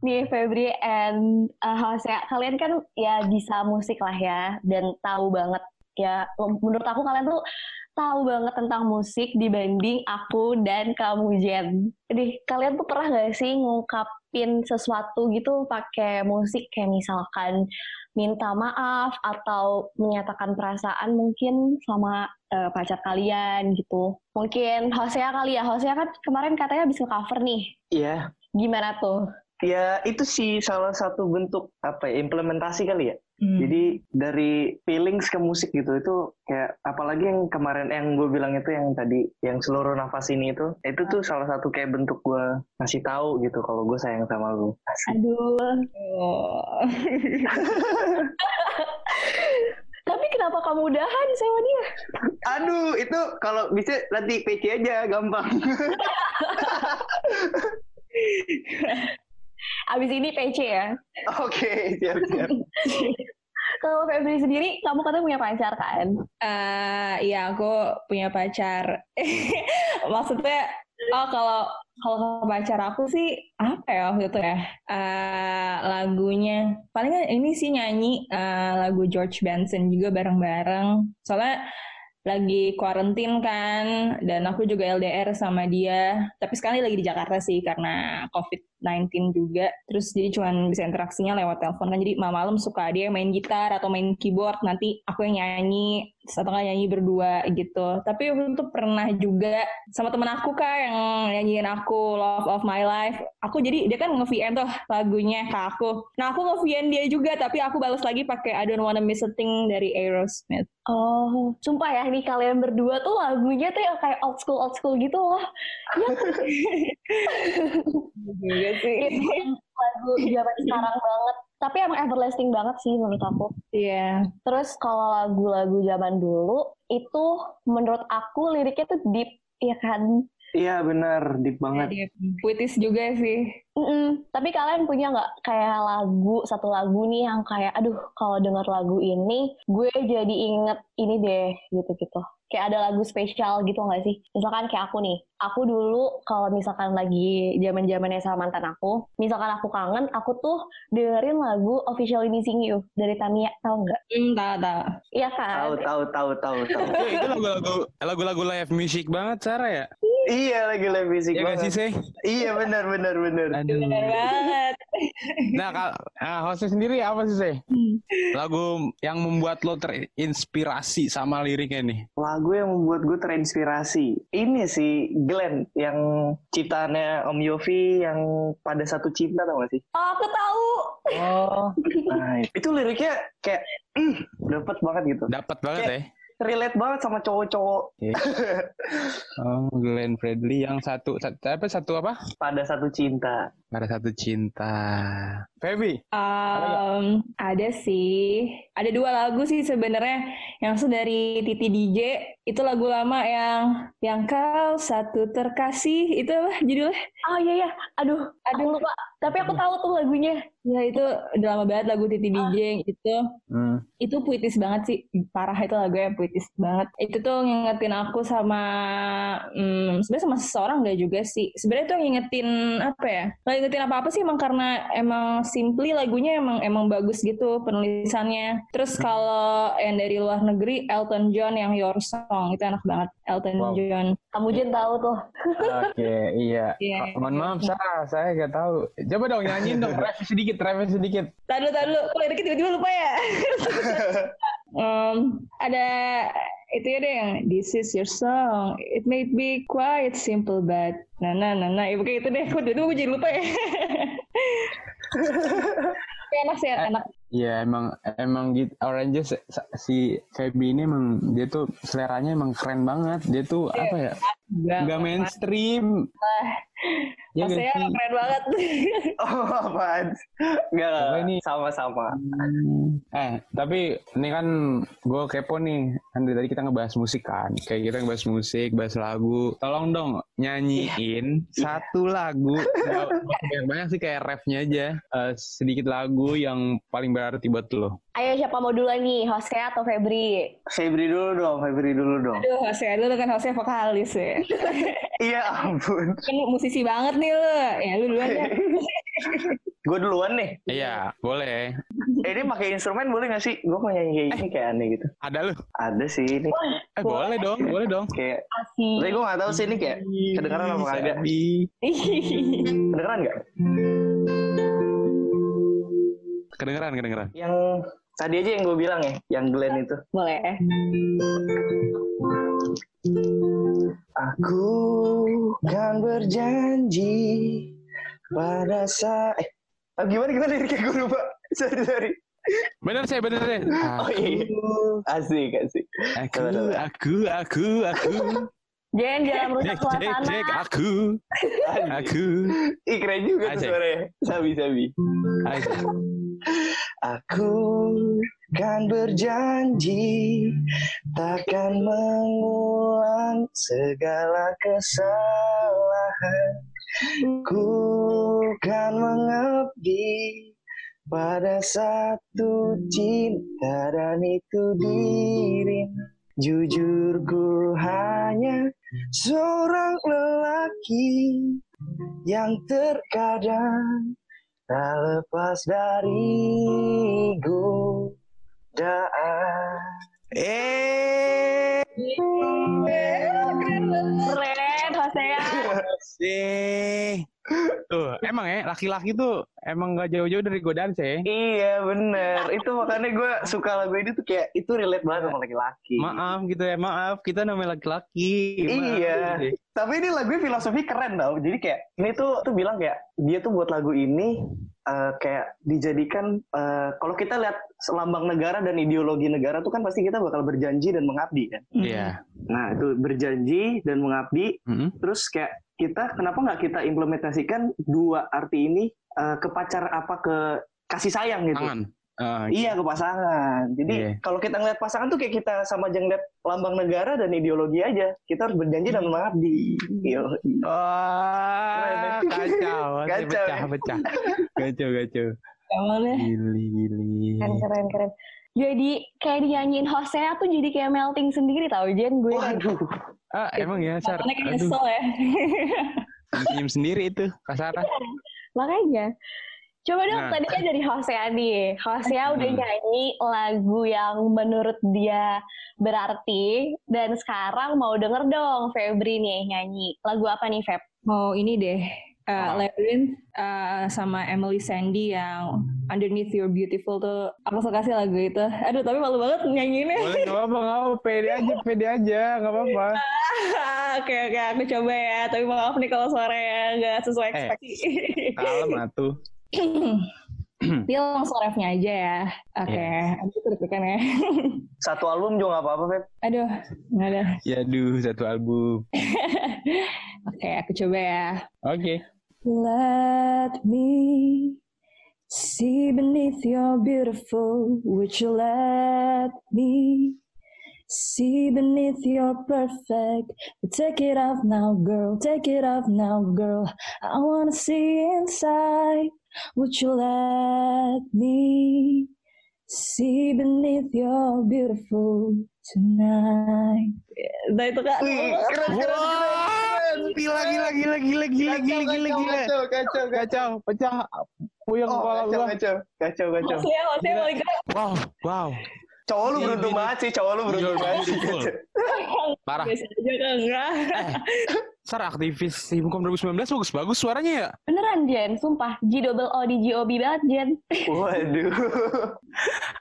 [SPEAKER 1] nih Febri and uh, Hosea, kalian kan ya bisa musik lah ya dan tahu banget ya. Menurut aku kalian tuh tahu banget tentang musik dibanding aku dan kamu Jen. Jadi kalian tuh pernah gak sih ngungkapin ngucapin sesuatu gitu pakai musik kayak misalkan minta maaf atau menyatakan perasaan mungkin sama eh, pacar kalian gitu. Mungkin Hosea kali ya, Hosea kan kemarin katanya habis cover nih.
[SPEAKER 4] Iya.
[SPEAKER 1] Gimana tuh?
[SPEAKER 4] Ya itu sih salah satu bentuk apa ya, implementasi kali ya.
[SPEAKER 3] Hmm.
[SPEAKER 4] Jadi dari feelings ke musik gitu itu kayak apalagi yang kemarin yang gue bilang itu yang tadi yang seluruh nafas ini itu itu tuh salah satu kayak bentuk gue ngasih tahu gitu kalau gue sayang sama lu. Asik.
[SPEAKER 1] Aduh.
[SPEAKER 3] Oh.
[SPEAKER 1] Tapi kenapa kamu udahan sama dia?
[SPEAKER 4] Aduh itu kalau bisa nanti PC aja gampang.
[SPEAKER 1] Abis ini PC ya.
[SPEAKER 4] Oke siap siap.
[SPEAKER 1] Kalau Febri sendiri, kamu katanya punya pacar kan?
[SPEAKER 3] Eh, iya aku punya pacar. Maksudnya, oh kalau kalau ke pacar aku sih apa ya waktu itu ya? Eh, lagunya palingan ini sih nyanyi eh, lagu George Benson juga bareng-bareng. Soalnya lagi kuarantin kan, dan aku juga LDR sama dia. Tapi sekali lagi di Jakarta sih karena COVID-19 juga. Terus jadi cuman bisa interaksinya lewat telepon kan. Jadi malam-malam suka dia yang main gitar atau main keyboard. Nanti aku yang nyanyi, terus atau nggak nyanyi berdua gitu. Tapi waktu itu pernah juga sama temen aku kak yang nyanyiin aku Love of My Life. Aku jadi dia kan nge-VN tuh lagunya ke aku. Nah aku nge-VN dia juga, tapi aku balas lagi pakai I Don't Wanna Miss a Thing dari Aerosmith.
[SPEAKER 1] Oh, sumpah ya, nih kalian berdua tuh lagunya tuh yang kayak old school old school gitu loh.
[SPEAKER 3] juga sih.
[SPEAKER 1] Kayak bukan lagu zaman sekarang banget. Tapi emang everlasting banget sih menurut aku.
[SPEAKER 3] Iya.
[SPEAKER 1] Terus kalau lagu-lagu zaman dulu itu menurut aku liriknya tuh deep, ya kan?
[SPEAKER 4] Iya benar deep banget.
[SPEAKER 3] Iya, Puitis juga sih.
[SPEAKER 1] Mm-mm. Tapi kalian punya nggak kayak lagu satu lagu nih yang kayak, aduh kalau denger lagu ini gue jadi inget ini deh gitu-gitu. Kayak ada lagu spesial gitu nggak sih? Misalkan kayak aku nih, aku dulu kalau misalkan lagi zaman zamannya sama mantan aku, misalkan aku kangen, aku tuh dengerin lagu Officially Missing You dari Tamiya, tau nggak?
[SPEAKER 3] Hmm, tahu tahu.
[SPEAKER 1] Iya kan?
[SPEAKER 4] Tahu tahu tahu tahu tahu.
[SPEAKER 2] Itu, Eh, itu lagu-lagu lagu-lagu live music banget Sarah ya?
[SPEAKER 4] iya lagi live music
[SPEAKER 2] Iya gak sih Nah,
[SPEAKER 4] banget.
[SPEAKER 2] sih?
[SPEAKER 4] Iya benar benar benar.
[SPEAKER 2] Aduh.
[SPEAKER 3] Benar banget.
[SPEAKER 2] Nah, kalau nah, hostnya sendiri apa sih sih? Lagu yang membuat lo terinspirasi sama liriknya nih?
[SPEAKER 4] Lagu yang membuat gue terinspirasi. Ini sih Glenn yang ciptaannya Om Yofi yang pada satu cinta tau gak sih?
[SPEAKER 1] Oh, aku tahu.
[SPEAKER 2] Ah,
[SPEAKER 4] Oh. Nah, itu liriknya kayak mm, dapet banget gitu.
[SPEAKER 2] Dapat banget ya.
[SPEAKER 4] Relate banget sama cowok-cowok
[SPEAKER 2] Oh, Glenn Fredly yang satu, satu apa satu apa?
[SPEAKER 4] pada satu cinta.
[SPEAKER 2] Pada satu cinta. Feby.
[SPEAKER 3] Um, ada sih. Ada dua lagu sih sebenarnya. Yang satu dari Titi DJ itu lagu lama yang yang kau satu terkasih itu apa judulnya?
[SPEAKER 1] Oh iya iya. Aduh, aku
[SPEAKER 3] Aduh.
[SPEAKER 1] lupa. Tapi aku tahu tuh lagunya. Ah.
[SPEAKER 3] Ya itu udah lama banget lagu Titi DJ itu. itu puitis banget sih parah itu lagunya puitis banget itu tuh ngingetin aku sama hmm, sebenarnya sama seseorang nggak juga sih sebenarnya tuh ngingetin apa ya nggak ngingetin apa apa sih emang karena emang simply lagunya emang emang bagus gitu penulisannya terus kalau yang dari luar negeri Elton John yang Your Song itu enak banget Elton
[SPEAKER 2] Wow.
[SPEAKER 3] John
[SPEAKER 1] Kamu Jen tahu tuh.
[SPEAKER 2] Oke, iya.
[SPEAKER 3] Iya.
[SPEAKER 2] Oh, Mohon maaf, Sarah, saya gak tahu. Coba dong nyanyiin dong, review sedikit, review sedikit.
[SPEAKER 3] Tahan dulu, tahan dulu. Kok liriknya tiba-tiba lupa ya? Em, ada itu ya deh yang This is your song. It may be quite simple but nah nah nah nah. Ya, pokoknya itu deh. Kok tiba-tiba gue jadi lupa ya. Tapi enak sih, enak.
[SPEAKER 2] Iya, emang emang gitu. Orange si Feby ini emang dia tuh seleranya emang keren banget. Dia tuh apa ya? Gak mainstream. Iya gak
[SPEAKER 3] Maksudnya
[SPEAKER 2] sih?
[SPEAKER 3] keren banget.
[SPEAKER 4] Oh apaan? Gak,
[SPEAKER 2] Apa ini?
[SPEAKER 4] sama-sama.
[SPEAKER 2] Hmm. Eh, tapi ini kan gue kepo nih. Kan dari tadi kita ngebahas musik kan. Kayak kita ngebahas musik, bahas lagu. Tolong dong nyanyiin satu lagu. Banyak banyak sih kayak refnya aja. Eh, sedikit lagu yang paling ber berarti buat lo?
[SPEAKER 1] Ayo siapa mau duluan nih, Hosea atau Febri?
[SPEAKER 4] Febri dulu dong, Febri dulu dong.
[SPEAKER 3] Aduh, Hosea dulu kan Hosea vokalis ya.
[SPEAKER 4] Iya ampun.
[SPEAKER 3] Kan musisi banget nih lu. Ya lu duluan ya.
[SPEAKER 4] Gue duluan nih.
[SPEAKER 2] Iya, boleh.
[SPEAKER 4] Eh, ini pakai instrumen boleh gak sih? Gue mau nyanyi kayak gini kayak aneh gitu.
[SPEAKER 2] Ada lu?
[SPEAKER 4] Ada sih ini.
[SPEAKER 2] Eh, boleh dong, boleh dong.
[SPEAKER 4] Kayak, tapi
[SPEAKER 1] Asik.
[SPEAKER 4] gue gak tahu sih ini kayak Iya. kedengeran apa Iya. kagak.
[SPEAKER 2] Sabi.
[SPEAKER 4] Kedengeran gak?
[SPEAKER 2] Kedengeran, kedengeran.
[SPEAKER 4] Yang tadi aja yang gue bilang ya, yang Glenn itu.
[SPEAKER 3] Boleh.
[SPEAKER 4] Aku kan berjanji pada saat... Eh, ah, gimana gimana liriknya gue lupa. Sorry, sorry.
[SPEAKER 2] Bener sih, bener sih.
[SPEAKER 4] Oh iya. Asik, asik.
[SPEAKER 2] Aku,
[SPEAKER 4] Coba, coba.
[SPEAKER 2] aku, aku, aku.
[SPEAKER 1] Jangan
[SPEAKER 3] Iya,
[SPEAKER 1] jangan merusak
[SPEAKER 2] Jack, Jack,
[SPEAKER 1] suasana.
[SPEAKER 2] Jack, aku,
[SPEAKER 4] asik.
[SPEAKER 2] aku.
[SPEAKER 4] Ih, keren juga
[SPEAKER 2] Asik.
[SPEAKER 4] tuh suaranya. Sabi, sabi.
[SPEAKER 2] Asik.
[SPEAKER 4] Aku kan berjanji takkan mengulang segala kesalahan. Ku kan mengabdi pada satu cinta dan itu diri. Jujur ku hanya seorang lelaki yang terkadang tak lepas dari godaan.
[SPEAKER 2] Eh,
[SPEAKER 1] Keren, Hosea.
[SPEAKER 2] sih. Tuh, emang ya, laki-laki tuh emang gak jauh-jauh dari godaan sih.
[SPEAKER 4] Iya bener, itu makanya gue suka lagu ini tuh kayak itu relate banget sama laki-laki.
[SPEAKER 2] Maaf gitu ya, maaf. Kita namanya laki-laki. Maaf,
[SPEAKER 4] Iya.
[SPEAKER 2] gitu sih.
[SPEAKER 4] Tapi ini lagunya filosofi keren tau, jadi kayak ini tuh tuh bilang kayak dia tuh buat lagu ini eh, kayak dijadikan eh, kalau kita lihat lambang negara dan ideologi negara tuh kan pasti kita bakal berjanji dan mengabdi kan.
[SPEAKER 2] Iya. Hmm.
[SPEAKER 4] Nah itu berjanji dan mengabdi
[SPEAKER 2] Mm-mm.
[SPEAKER 4] terus kayak kita kenapa nggak kita implementasikan dua arti ini eh, ke pacar apa ke kasih sayang gitu
[SPEAKER 2] Tangan. Ah,
[SPEAKER 4] iya ke pasangan jadi
[SPEAKER 2] Iya.
[SPEAKER 4] kalau kita ngeliat pasangan tuh kayak kita sama aja ngeliat lambang negara dan ideologi aja kita harus berjanji dan mengabdi Yo.
[SPEAKER 2] Wah,
[SPEAKER 4] Keren. ya.
[SPEAKER 2] kacau,
[SPEAKER 4] Kacau,
[SPEAKER 2] pecah,
[SPEAKER 4] ya?
[SPEAKER 2] pecah, kacau, kacau,
[SPEAKER 3] Emang deh.
[SPEAKER 2] gili, gili.
[SPEAKER 1] Keren, keren, keren. Jadi kayak dinyanyiin Hosea tuh jadi kayak melting sendiri tau Jen gue.
[SPEAKER 4] waduh
[SPEAKER 2] Ah, emang ya, Sar?
[SPEAKER 3] Makanya kayak
[SPEAKER 2] Aduh,
[SPEAKER 3] nyesel ya.
[SPEAKER 2] senyum sendiri itu, kasar.
[SPEAKER 1] Makanya. Coba dong
[SPEAKER 2] Nah.
[SPEAKER 1] tadi kan dari Hosea nih. Hosea udah
[SPEAKER 2] Hmm.
[SPEAKER 1] nyanyi lagu yang menurut dia berarti dan sekarang mau denger dong Febri nih nyanyi. Lagu apa nih Feb?
[SPEAKER 3] Mau ini deh. Uh,
[SPEAKER 2] Apa?
[SPEAKER 3] Labyrinth uh, sama Emily Sandy yang Underneath Your Beautiful tuh aku suka sih lagu itu. Aduh tapi malu banget nyanyiinnya.
[SPEAKER 2] Boleh, nggak apa-apa, nggak apa-apa, pede aja, pede aja, nggak apa-apa.
[SPEAKER 3] oke oke aku coba ya. Tapi maaf nih kalau suaranya nggak sesuai
[SPEAKER 2] Eh.
[SPEAKER 3] ekspektasi.
[SPEAKER 2] Kalem atuh. Hmm.
[SPEAKER 3] Dia langsung refnya aja ya. Oke, aduh tertekan ya.
[SPEAKER 4] satu album juga nggak apa-apa Feb
[SPEAKER 3] Aduh, nggak ada.
[SPEAKER 2] Ya, duh, satu album.
[SPEAKER 3] Oke, aku coba ya.
[SPEAKER 2] Oke.
[SPEAKER 3] Let me see beneath your beautiful. Would you let me see beneath your perfect? Take it off now, girl. Take it off now, girl. I wanna see inside. Would you let me see beneath your beautiful tonight? Nah itu kak.
[SPEAKER 4] Wih, keren keren keren
[SPEAKER 2] gila, gila, gila, gila, gila, gila, gila, gila.
[SPEAKER 4] kacau kacau kacau
[SPEAKER 2] Kacau, pecah, puyeng
[SPEAKER 4] Oh,
[SPEAKER 2] kepala
[SPEAKER 4] kacau
[SPEAKER 2] gua.
[SPEAKER 4] kacau kacau kacau
[SPEAKER 3] Maksudnya, maksudnya paling keren.
[SPEAKER 2] Wow, wow,
[SPEAKER 4] cowok lu
[SPEAKER 2] You're
[SPEAKER 4] beruntung
[SPEAKER 2] beautiful.
[SPEAKER 4] banget sih cowok lu beruntung
[SPEAKER 2] You're
[SPEAKER 4] banget sih
[SPEAKER 2] beautiful.
[SPEAKER 4] kacau.
[SPEAKER 2] parah.
[SPEAKER 3] Biasa aja kan enggak.
[SPEAKER 2] Sar aktivis Simkom 2019 bagus-bagus suaranya ya.
[SPEAKER 1] Beneran Jen, sumpah. G double O di G O B banget Jen.
[SPEAKER 4] waduh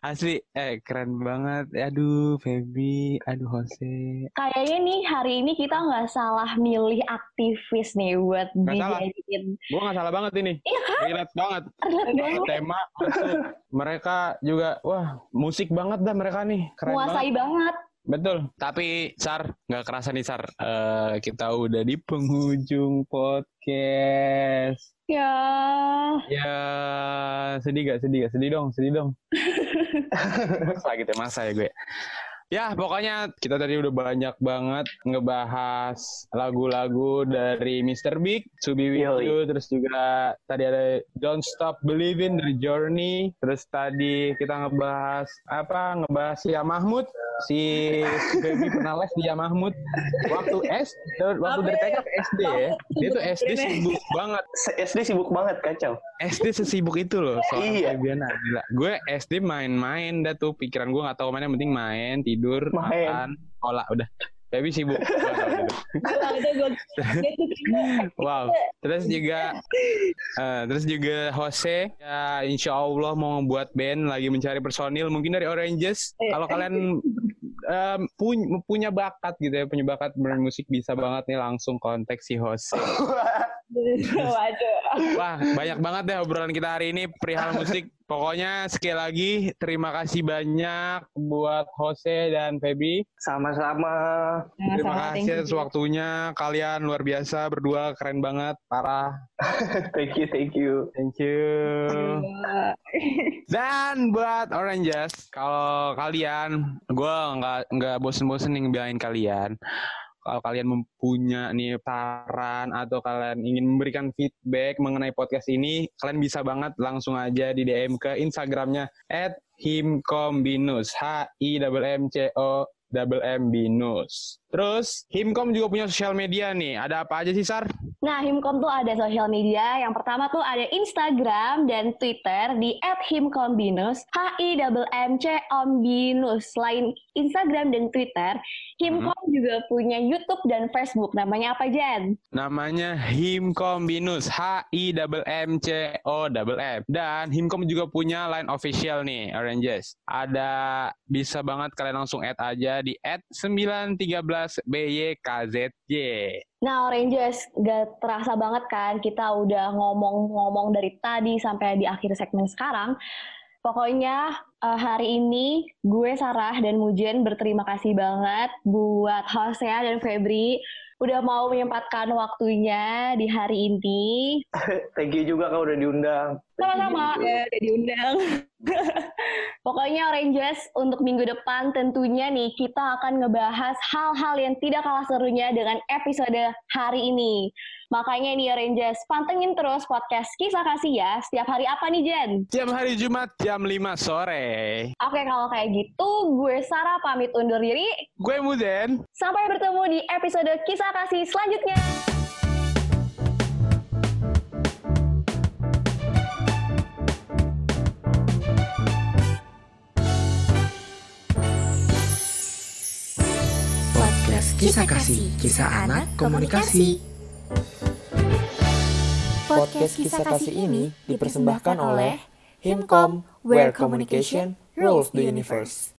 [SPEAKER 2] Asli, eh keren banget. Aduh, Feby, aduh Jose.
[SPEAKER 1] Kayaknya nih hari ini kita nggak salah milih aktivis nih buat
[SPEAKER 2] Nggak salah.
[SPEAKER 1] dijadiin.
[SPEAKER 2] Gua nggak salah banget ini.
[SPEAKER 1] Iya
[SPEAKER 2] Relate banget.
[SPEAKER 1] Relate banget.
[SPEAKER 2] Tema masuk. mereka juga wah, musik banget dah mereka nih. Keren banget.
[SPEAKER 1] Menguasai banget.
[SPEAKER 2] Betul. Tapi Sar, nggak kerasa nih Sar. Eh, kita udah di penghujung podcast.
[SPEAKER 1] Ya.
[SPEAKER 2] Ya, sedih gak? Sedih gak? Sedih dong, sedih dong. masa gitu, masa ya gue. Ya, pokoknya kita tadi udah banyak banget ngebahas lagu-lagu dari Mr. Big, To Be With
[SPEAKER 4] Yoi.
[SPEAKER 2] You, terus juga tadi ada Don't Stop Believing dari Journey, terus tadi kita ngebahas apa? Ngebahas si Mahmud, si Baby pernah les di Ya Mahmud waktu S, waktu dari TK ke SD ya. Dia tuh SD sibuk banget.
[SPEAKER 4] Se- SD sibuk banget kacau.
[SPEAKER 2] SD sesibuk itu loh soal
[SPEAKER 4] Iya.
[SPEAKER 2] Febiana gila. Gue SD main-main dah tuh pikiran gue nggak tahu mana yang penting main tidur
[SPEAKER 4] Main.
[SPEAKER 2] makan olah udah Febi sibuk Gua tahu gitu.
[SPEAKER 3] itu gue dia tuh kayaknya
[SPEAKER 2] wow terus juga eh, terus juga Jose ya Insya Allah mau membuat band lagi mencari personil mungkin dari Oranges
[SPEAKER 3] Iya.
[SPEAKER 2] kalau kalian em, pun- punya bakat gitu ya punya bakat bermusik bisa banget nih langsung kontak si Jose
[SPEAKER 3] waduh
[SPEAKER 2] Wah, banyak banget deh obrolan kita hari ini perihal musik. Pokoknya sekali lagi terima kasih banyak buat Jose dan Feby.
[SPEAKER 4] Sama-sama.
[SPEAKER 2] Terima
[SPEAKER 3] Sama-sama, thank
[SPEAKER 2] kasih
[SPEAKER 3] you.
[SPEAKER 2] atas waktunya. Kalian luar biasa berdua keren banget, parah.
[SPEAKER 4] Thank you, thank you.
[SPEAKER 2] Thank you. Dan buat Oranges, kalau kalian, gue nggak nggak bosen-bosen nih ngebilangin kalian. Kalau kalian mempunyai nih saran atau kalian ingin memberikan feedback mengenai podcast ini, kalian bisa banget langsung aja di DM ke Instagramnya @himkombinus h i double m c o double m binus. Terus Himkom juga punya sosial media nih. Ada apa aja sih Sar?
[SPEAKER 1] Nah, Himkom tuh ada sosial media. Yang pertama tuh ada Instagram dan Twitter di @himkombinus, H I double M C Ombinus. Selain Instagram dan Twitter, Himkom
[SPEAKER 2] Mm-hmm.
[SPEAKER 1] juga punya YouTube dan Facebook. Namanya apa, Jen?
[SPEAKER 2] Namanya Himkom Binus H I double M C O double M dan Himkom juga punya line official nih Oranges. Ada bisa banget kalian langsung add aja di add 913 BYKZJ.
[SPEAKER 1] Nah, Oranges, gak terasa banget kan kita udah ngomong-ngomong dari tadi sampai di akhir segmen sekarang. Pokoknya eh, hari ini gue Sarah dan Mujen berterima kasih banget buat Hosea dan Febri udah mau menyempatkan waktunya di hari ini.
[SPEAKER 4] Thank you juga kau udah diundang. Thank you
[SPEAKER 1] Sama-sama.
[SPEAKER 4] juga.
[SPEAKER 3] Ya, udah diundang
[SPEAKER 1] Pokoknya Oranges untuk minggu depan tentunya nih kita akan ngebahas hal-hal yang tidak kalah serunya dengan episode hari ini. Makanya nih Oranges, pantengin terus podcast Kisah Kasih ya. Setiap hari apa nih Jen?
[SPEAKER 2] Jam hari Jumat jam 5 sore.
[SPEAKER 1] Oke kalau kayak gitu gue Sarah pamit undur diri.
[SPEAKER 2] Gue Muden.
[SPEAKER 1] Sampai bertemu di episode Kisah Kasih selanjutnya.
[SPEAKER 6] Podcast
[SPEAKER 7] Kisah Kasih, Kisah Anak Komunikasi.
[SPEAKER 6] Podcast Kisah Kasih ini dipersembahkan oleh Himkom, where communication rules the universe.